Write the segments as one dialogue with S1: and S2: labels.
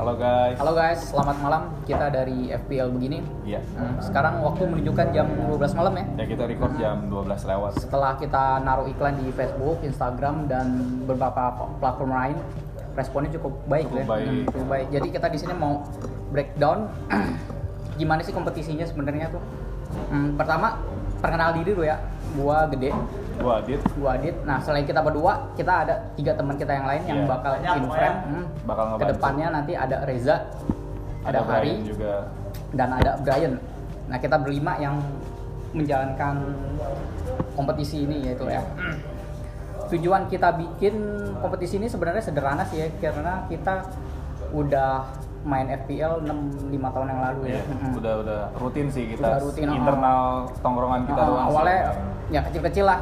S1: Halo guys.
S2: Halo guys, selamat malam. Kita dari FPL begini.
S1: Iya.
S2: Nah, Sekarang waktu menunjukkan jam 12 malam ya.
S1: Ya kita record jam 12 lewat.
S2: Setelah kita naruh iklan di Facebook, Instagram dan beberapa platform lain, responnya cukup baik
S1: Cukup
S2: ya.
S1: baik.
S2: Hmm, Cukup baik. Jadi kita di sini mau breakdown gimana sih kompetisinya sebenarnya tuh. Hmm, pertama, perkenal diri dulu ya. Gua gede,
S1: Gua Adit
S2: gua Adit. Nah, selain kita berdua, kita ada tiga teman kita yang lain yang
S1: Iya. Nah,
S2: bakal
S3: Banyak,
S2: in frame.
S3: pokoknya.
S2: Hmm.
S1: bakal ngebantu.
S2: Kedepannya nanti ada Reza, ada, Hari,
S1: Brian juga.
S2: dan ada Brian. Nah kita berlima yang menjalankan kompetisi ini yaitu ya. Tujuan kita bikin kompetisi ini sebenarnya sederhana sih ya karena kita udah main FPL 6 5 tahun yang lalu ya.
S1: Iya,
S2: Mm-mm.
S1: Udah udah rutin sih
S2: Udah
S1: kita
S2: rutin, oh.
S1: internal tongkrongan kita
S2: Nah,
S1: doang sih.
S2: awalnya ya kecil-kecil lah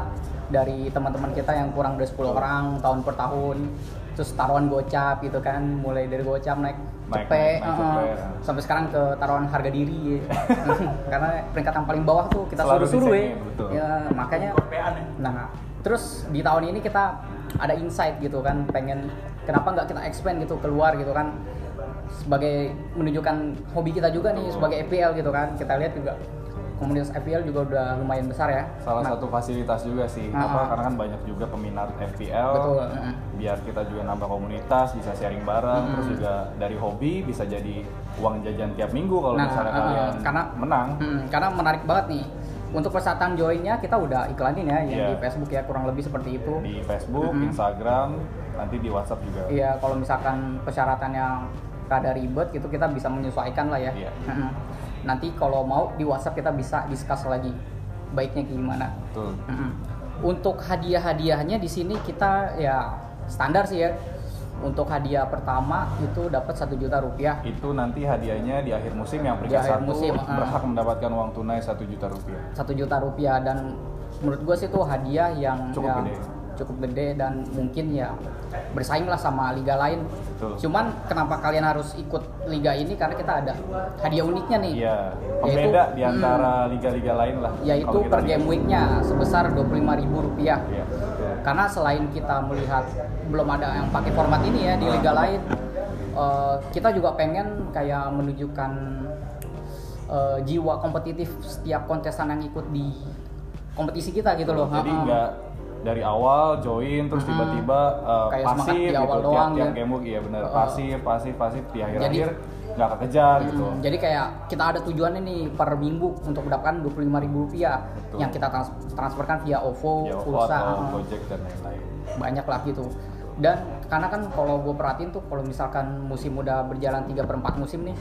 S2: dari teman-teman kita yang kurang dari 10 orang tahun per tahun terus taruhan gocap gitu kan mulai dari gocap naik
S1: Naik-
S2: cepet
S1: naik- naik
S2: eh,
S1: cepet.
S2: sampai sekarang ke taruhan harga diri karena peringkat yang paling bawah tuh kita
S1: Selalu
S2: suruh-suruh ya.
S1: dicengin, betul.
S2: ya makanya
S3: Kopean ya.
S2: Nah, terus di tahun ini kita ada insight gitu kan, pengen kenapa nggak kita expand gitu keluar gitu kan, sebagai menunjukkan hobi kita juga nih sebagai FPL gitu kan, kita lihat juga komunitas FPL juga udah lumayan besar ya.
S1: Salah
S2: Nah,
S1: satu fasilitas juga sih,
S2: Ah,
S1: apa
S2: ah.
S1: karena kan banyak juga peminat FPL.
S2: betul. mm.
S1: Biar kita juga nambah komunitas, bisa sharing bareng,
S2: Mm-mm.
S1: terus juga dari hobi bisa jadi uang jajan tiap minggu kalau
S2: Nah,
S1: misalnya
S2: ah, ah.
S1: kalian
S2: Karena-
S1: menang.
S2: Hmm, karena menarik banget nih. Untuk persyaratan joinnya kita udah iklanin ya yang
S1: Iya.
S2: di Facebook ya kurang lebih seperti itu.
S1: di Facebook,
S2: Mm-mm.
S1: Instagram, nanti di WhatsApp juga.
S2: Iya, kalau misalkan persyaratan yang rada ribet gitu kita bisa menyesuaikan lah ya.
S1: Iya.
S2: Mm-mm. Nanti kalau mau di WhatsApp kita bisa discuss lagi baiknya gimana.
S1: Betul.
S2: Mm-mm. Untuk hadiah-hadiahnya di sini kita ya standar sih ya. Untuk hadiah pertama itu dapat satu juta rupiah.
S1: itu nanti hadiahnya di akhir musim yang
S2: Di
S1: peringkat
S2: akhir
S1: satu
S2: musim, ah.
S1: berhak mendapatkan uang tunai 1 juta rupiah.
S2: satu juta rupiah dan menurut gue sih itu hadiah yang
S1: Cukup
S2: yang
S1: gede.
S2: cukup gede dan mungkin ya bersaing lah sama liga lain.
S1: Betul.
S2: Cuman kenapa kalian harus ikut liga ini karena kita ada hadiah uniknya nih.
S1: Iya,
S2: Yaitu-
S1: pembeda di antara liga-liga lain lah.
S2: Yaitu
S1: kalau kita
S2: per
S1: lihat.
S2: game weeknya sebesar dua ribu rupiah.
S1: Iya.
S2: Karena selain kita melihat belum ada yang pakai format ini ya di liga lain, eh, kita juga pengen kayak menunjukkan eh, jiwa kompetitif setiap kontestan yang ikut di kompetisi kita gitu loh.
S1: Jadi
S2: Ha-ha.
S1: nggak dari awal join terus
S2: Mm-mm.
S1: tiba-tiba uh,
S2: Kayak semangat
S1: pasif
S2: di awal
S1: gitu
S2: doang
S1: tiap, tiap
S2: ya.
S1: game week iya benar
S2: Oh.
S1: pasif pasif pasif di akhir-akhir
S2: Jadi-
S1: nggak kekejar gitu.
S2: Hmm, jadi kayak kita ada tujuannya nih per minggu untuk mendapatkan Rp25.000
S1: Betul.
S2: yang kita trans- transferkan via OVO,
S1: Ya,
S2: pulsa,
S1: atau
S2: ah,
S1: Gojek dan lain-lain.
S2: banyak lah gitu. Dan karena kan kalau gue perhatiin tuh kalau misalkan musim udah berjalan 3 per 4 musim nih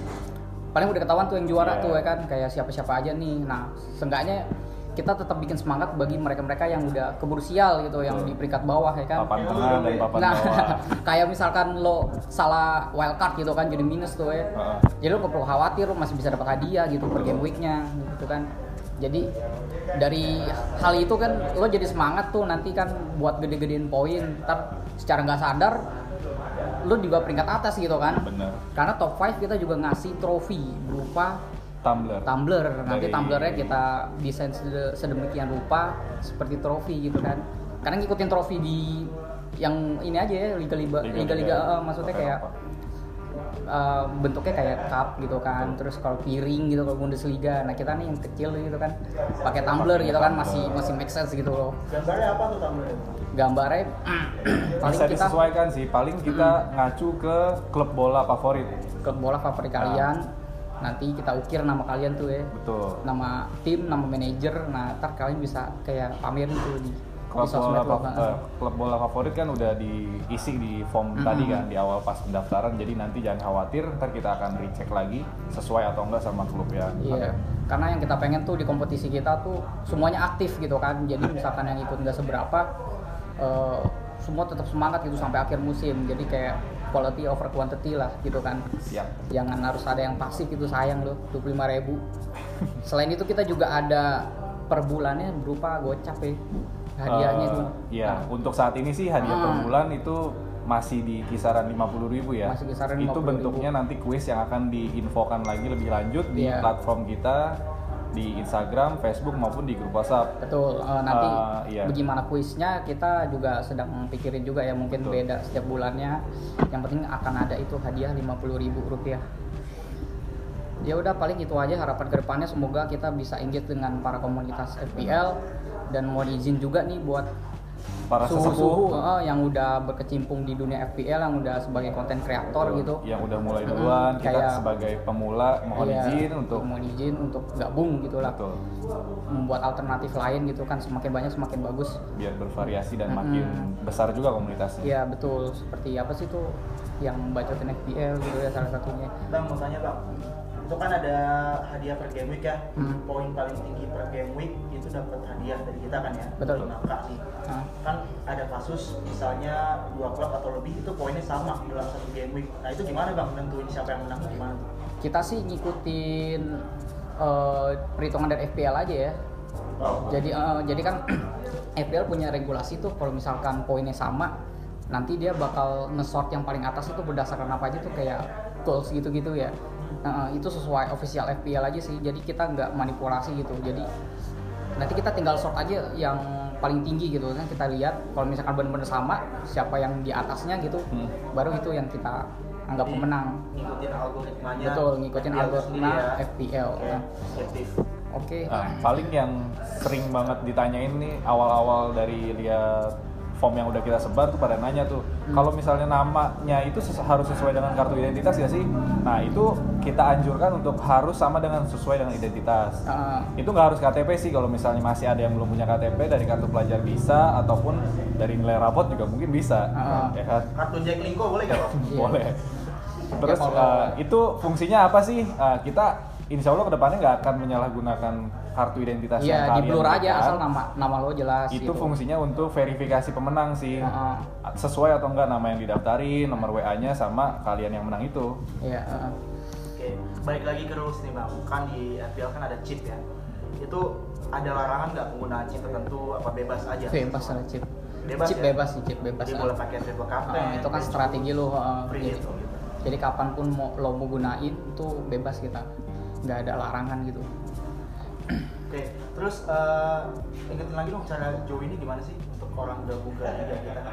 S2: paling udah ketahuan tuh yang juara
S1: Iya.
S2: tuh ya kan kayak siapa-siapa aja nih. Nah, seenggaknya kita tetap bikin semangat bagi mereka-mereka yang udah keburu sial gitu yang
S1: Betul.
S2: di peringkat bawah ya kan.
S1: Papan tengah dan papan
S2: nah,
S1: bawah.
S2: kayak misalkan lo salah wildcard gitu kan jadi minus tuh ya
S1: Heeh.
S2: jadi lo gak perlu khawatir lo masih bisa dapat hadiah gitu per game weeknya gitu kan jadi dari hal itu kan lo jadi semangat tuh nanti kan buat gede-gedein poin ntar secara nggak sadar lo juga peringkat atas gitu kan
S1: Bener.
S2: karena top 5 kita juga ngasih trofi berupa
S1: Tumblr.
S2: tumbler nanti
S1: Dari-
S2: tumblernya kita desain sede- sedemikian rupa seperti trofi gitu kan karena ngikutin trofi di yang ini aja ya liga-liga liga-liga
S1: ya.
S2: eh, maksudnya kayak
S1: Eropa.
S2: eh, bentuknya kayak cup gitu kan terus kalau piring gitu kalau Bundesliga nah kita nih yang kecil gitu kan pakai tumbler gitu kan masih masih make sense gitu loh
S3: Gambarnya apa tuh tampilnya?
S2: gambarnya paling
S1: bisa
S2: kita
S1: disesuaikan sih paling kita ngacu ke klub bola favorit
S2: klub bola favorit kalian
S1: Ah.
S2: nanti kita ukir nama kalian tuh ya
S1: betul
S2: nama tim, nama manajer, nah ntar kalian bisa kayak pamerin tuh di, di
S1: klub bola
S2: sosmed lo.
S1: fa- eh, klub bola favorit kan udah diisi di form
S2: Mm-mm.
S1: tadi kan di awal pas pendaftaran jadi nanti jangan khawatir ntar kita akan recheck lagi sesuai atau enggak sama klub ya
S2: Iya, karena yang kita pengen tuh di kompetisi kita tuh semuanya aktif gitu kan, jadi misalkan yang ikut nggak seberapa, eh, semua tetap semangat gitu sampai akhir musim, jadi kayak quality over quantity lah gitu kan.
S1: siap
S2: Jangan harus ada yang pasif itu sayang loh, 25.000 Selain itu kita juga ada per bulannya berupa gocap ya, hadiahnya
S1: Eh,
S2: tuh.
S1: iya untuk saat ini sih hadiah per
S2: Hmm.
S1: bulan itu masih di kisaran 50.000 ya.
S2: Masih kisaran
S1: itu
S2: 50.000.
S1: bentuknya nanti kuis yang akan diinfokan lagi lebih lanjut di
S2: Iya.
S1: platform kita di Instagram, Facebook maupun di grup WhatsApp.
S2: Betul. eh, nanti
S1: Ah, iya.
S2: bagaimana kuisnya kita juga sedang pikirin juga ya mungkin
S1: Betul.
S2: beda setiap bulannya. Yang penting akan ada itu hadiah 50.000 rupiah. Ya udah paling itu aja harapan kedepannya semoga kita bisa engage dengan para komunitas FPL dan mau izin juga nih buat
S1: Para
S2: suhu-suhu
S1: sesepuh gitu.
S2: eh, yang udah berkecimpung di dunia FPL yang udah sebagai konten kreator gitu.
S1: yang udah mulai
S2: Mm-mm,
S1: duluan, kita
S2: kayak-
S1: sebagai pemula Ya, mohon
S2: Iya,
S1: izin untuk
S2: mohon izin untuk gabung gitulah.
S1: betul,
S2: Membuat alternatif lain gitu kan semakin banyak semakin bagus.
S1: biar bervariasi dan
S2: Mm-mm.
S1: makin besar juga komunitasnya.
S2: Iya betul. Seperti apa sih tuh yang bacotin FPL gitu ya salah satunya.
S3: Bang mau tanya bang, itu kan ada hadiah per game week ya,
S2: Hmm.
S3: poin paling tinggi per game week itu dapat hadiah dari kita kan ya,
S2: Betul.
S3: Lima K nih.
S2: Nah,
S3: Kan ada kasus misalnya dua klub atau lebih itu poinnya sama dalam satu game week. Nah itu gimana bang nentuin siapa yang menang gimana? tuh?
S2: kita sih ngikutin eh, perhitungan dari FPL aja ya.
S3: Oh,
S2: Jadi eh, jadi kan FPL punya regulasi tuh kalau misalkan poinnya sama nanti dia bakal nge-sort yang paling atas itu berdasarkan apa aja tuh kayak goals gitu-gitu ya. Nah, eh, itu sesuai official FPL aja sih. Jadi kita nggak manipulasi gitu. Jadi nanti kita tinggal sort aja yang paling tinggi gitu kan kita lihat kalau misalkan benar-benar sama siapa yang di atasnya gitu
S1: Hmm.
S2: baru itu yang kita anggap
S3: Jadi,
S2: pemenang.
S3: Ngikutin algoritmanya.
S2: Betul, ngikutin
S3: FPL itu
S2: algoritma
S3: sendiri ya. Ah.
S2: FPL.
S3: Oke, objektif.
S2: Oke.
S1: Nah, paling yang sering banget ditanyain nih awal-awal dari lihat form yang udah kita sebar tuh pada nanya tuh
S2: Hmm.
S1: kalau misalnya namanya itu ses- harus sesuai dengan kartu identitas ya sih nah itu kita anjurkan untuk harus sama dengan sesuai dengan identitas
S2: Eh,
S1: itu nggak harus KTP sih kalau misalnya masih ada yang belum punya KTP dari kartu pelajar bisa ataupun dari nilai rapot juga mungkin bisa
S2: Ah.
S1: ya kan
S3: Kartu Jack Linko boleh gak bang?
S2: Iya.
S1: boleh terus
S2: Ya, kalau-
S1: eh, itu fungsinya apa sih Eh, kita Insya Allah kedepannya nggak akan menyalahgunakan kartu identitas
S2: Iya,
S1: yang
S2: di
S1: kalian
S2: blur aja
S1: berikan.
S2: asal nama nama lo jelas
S1: kan. itu
S2: gitu.
S1: fungsinya untuk verifikasi pemenang sih
S2: Heeh.
S1: sesuai atau enggak nama yang didaftarin nomor WA-nya sama kalian yang menang itu
S2: Iya, heeh.
S3: Oke, balik lagi ke rules nih bang. Kan di FPL kan ada chip ya. Itu ada larangan nggak penggunaan chip tertentu apa bebas aja?
S2: bebas lah chip.
S3: Bebas
S2: chip
S3: ya?
S2: bebas sih, chip bebas.
S3: Jadi
S2: ah.
S3: boleh pakai triple captain.
S2: Ah, itu kan strategi lo. heeh.
S3: gitu. Free
S2: jadi,
S3: hit loh gitu.
S2: jadi kapanpun mau lo mau gunain itu bebas kita, nggak ada larangan gitu.
S3: Oke, terus eh, ingetin lagi dong cara Joe ini gimana sih untuk orang gabung ke liga kita?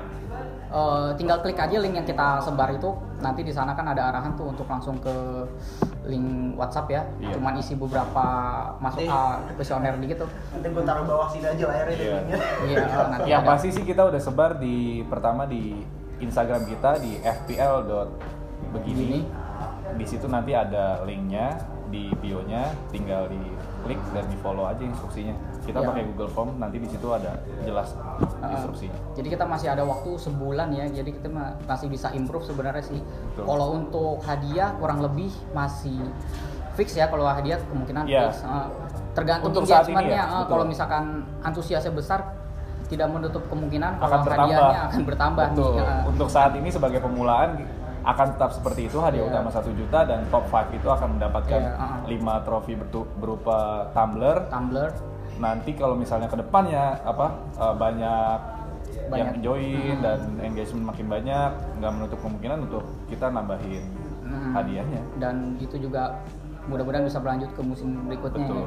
S2: Eh, tinggal klik aja link yang kita sebar itu nanti di sana kan ada arahan tuh untuk langsung ke link WhatsApp ya
S1: Iya.
S2: cuman isi beberapa masuk
S3: Iya.
S2: ah, kuesioner dikit tuh
S3: Nanti gue taruh bawah sini aja layarnya
S1: Iya.
S3: linknya.
S2: iya nanti
S1: yang
S2: ada.
S1: pasti sih kita udah sebar di pertama di Instagram kita di fpl begini di situ nanti ada linknya di bio-nya tinggal di klik dan di follow aja instruksinya kita
S2: Iya.
S1: pakai Google Form nanti di situ ada jelas
S2: Uh,
S1: instruksinya
S2: Jadi kita masih ada waktu sebulan ya, jadi kita ma- masih bisa improve sebenarnya sih.
S1: Betul.
S2: Kalau untuk hadiah kurang lebih masih fix ya kalau hadiah kemungkinan
S1: Iya.
S2: fix. Uh, tergantung
S1: Untuk saat ini ya,
S2: engagementnya. Uh,
S1: betul.
S2: kalau misalkan antusiasnya besar, tidak menutup kemungkinan
S1: akan
S2: kalau
S1: bertambah
S2: hadiahnya akan bertambah. nih.
S1: Betul.
S2: Uh,
S1: untuk saat ini sebagai pemulaan akan tetap seperti itu hadiah
S2: Iya.
S1: utama 1 juta dan top 5 itu akan mendapatkan
S2: Iya, uh-uh.
S1: 5 trofi bertu- berupa tumbler
S2: Tumblr,
S1: nanti kalau misalnya kedepannya apa eh, banyak,
S2: Banyak.
S1: yang
S2: Hmm.
S1: join dan engagement makin banyak nggak menutup kemungkinan untuk kita nambahin
S2: Hmm.
S1: hadiahnya
S2: dan itu juga mudah-mudahan bisa berlanjut ke musim berikutnya. Ya.
S1: Betul.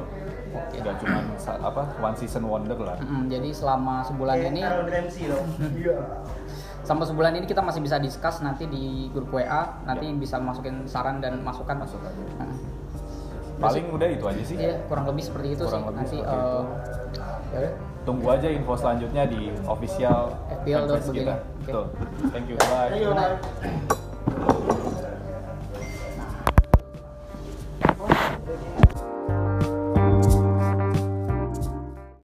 S2: Oke.
S1: nggak cuma sa- apa one season wonder lah
S2: Mm, jadi selama sebulan
S3: Kayak
S2: ini
S3: Aaron Ramsey dong. Iya.
S2: Sampai sebulan ini kita masih bisa discuss nanti di grup WA, nanti
S1: Ya.
S2: bisa masukin saran dan masukan masukan.
S1: paling udah itu aja sih
S2: Hmm. Iya, kurang lebih seperti itu sih.
S1: Kurang lebih
S2: Nanti
S1: seperti
S2: eh, ya udah.
S1: tunggu aja info selanjutnya di official
S2: FPL
S1: fanpage kita
S2: begini. Oke.
S1: betul thank you bye
S3: Ayo.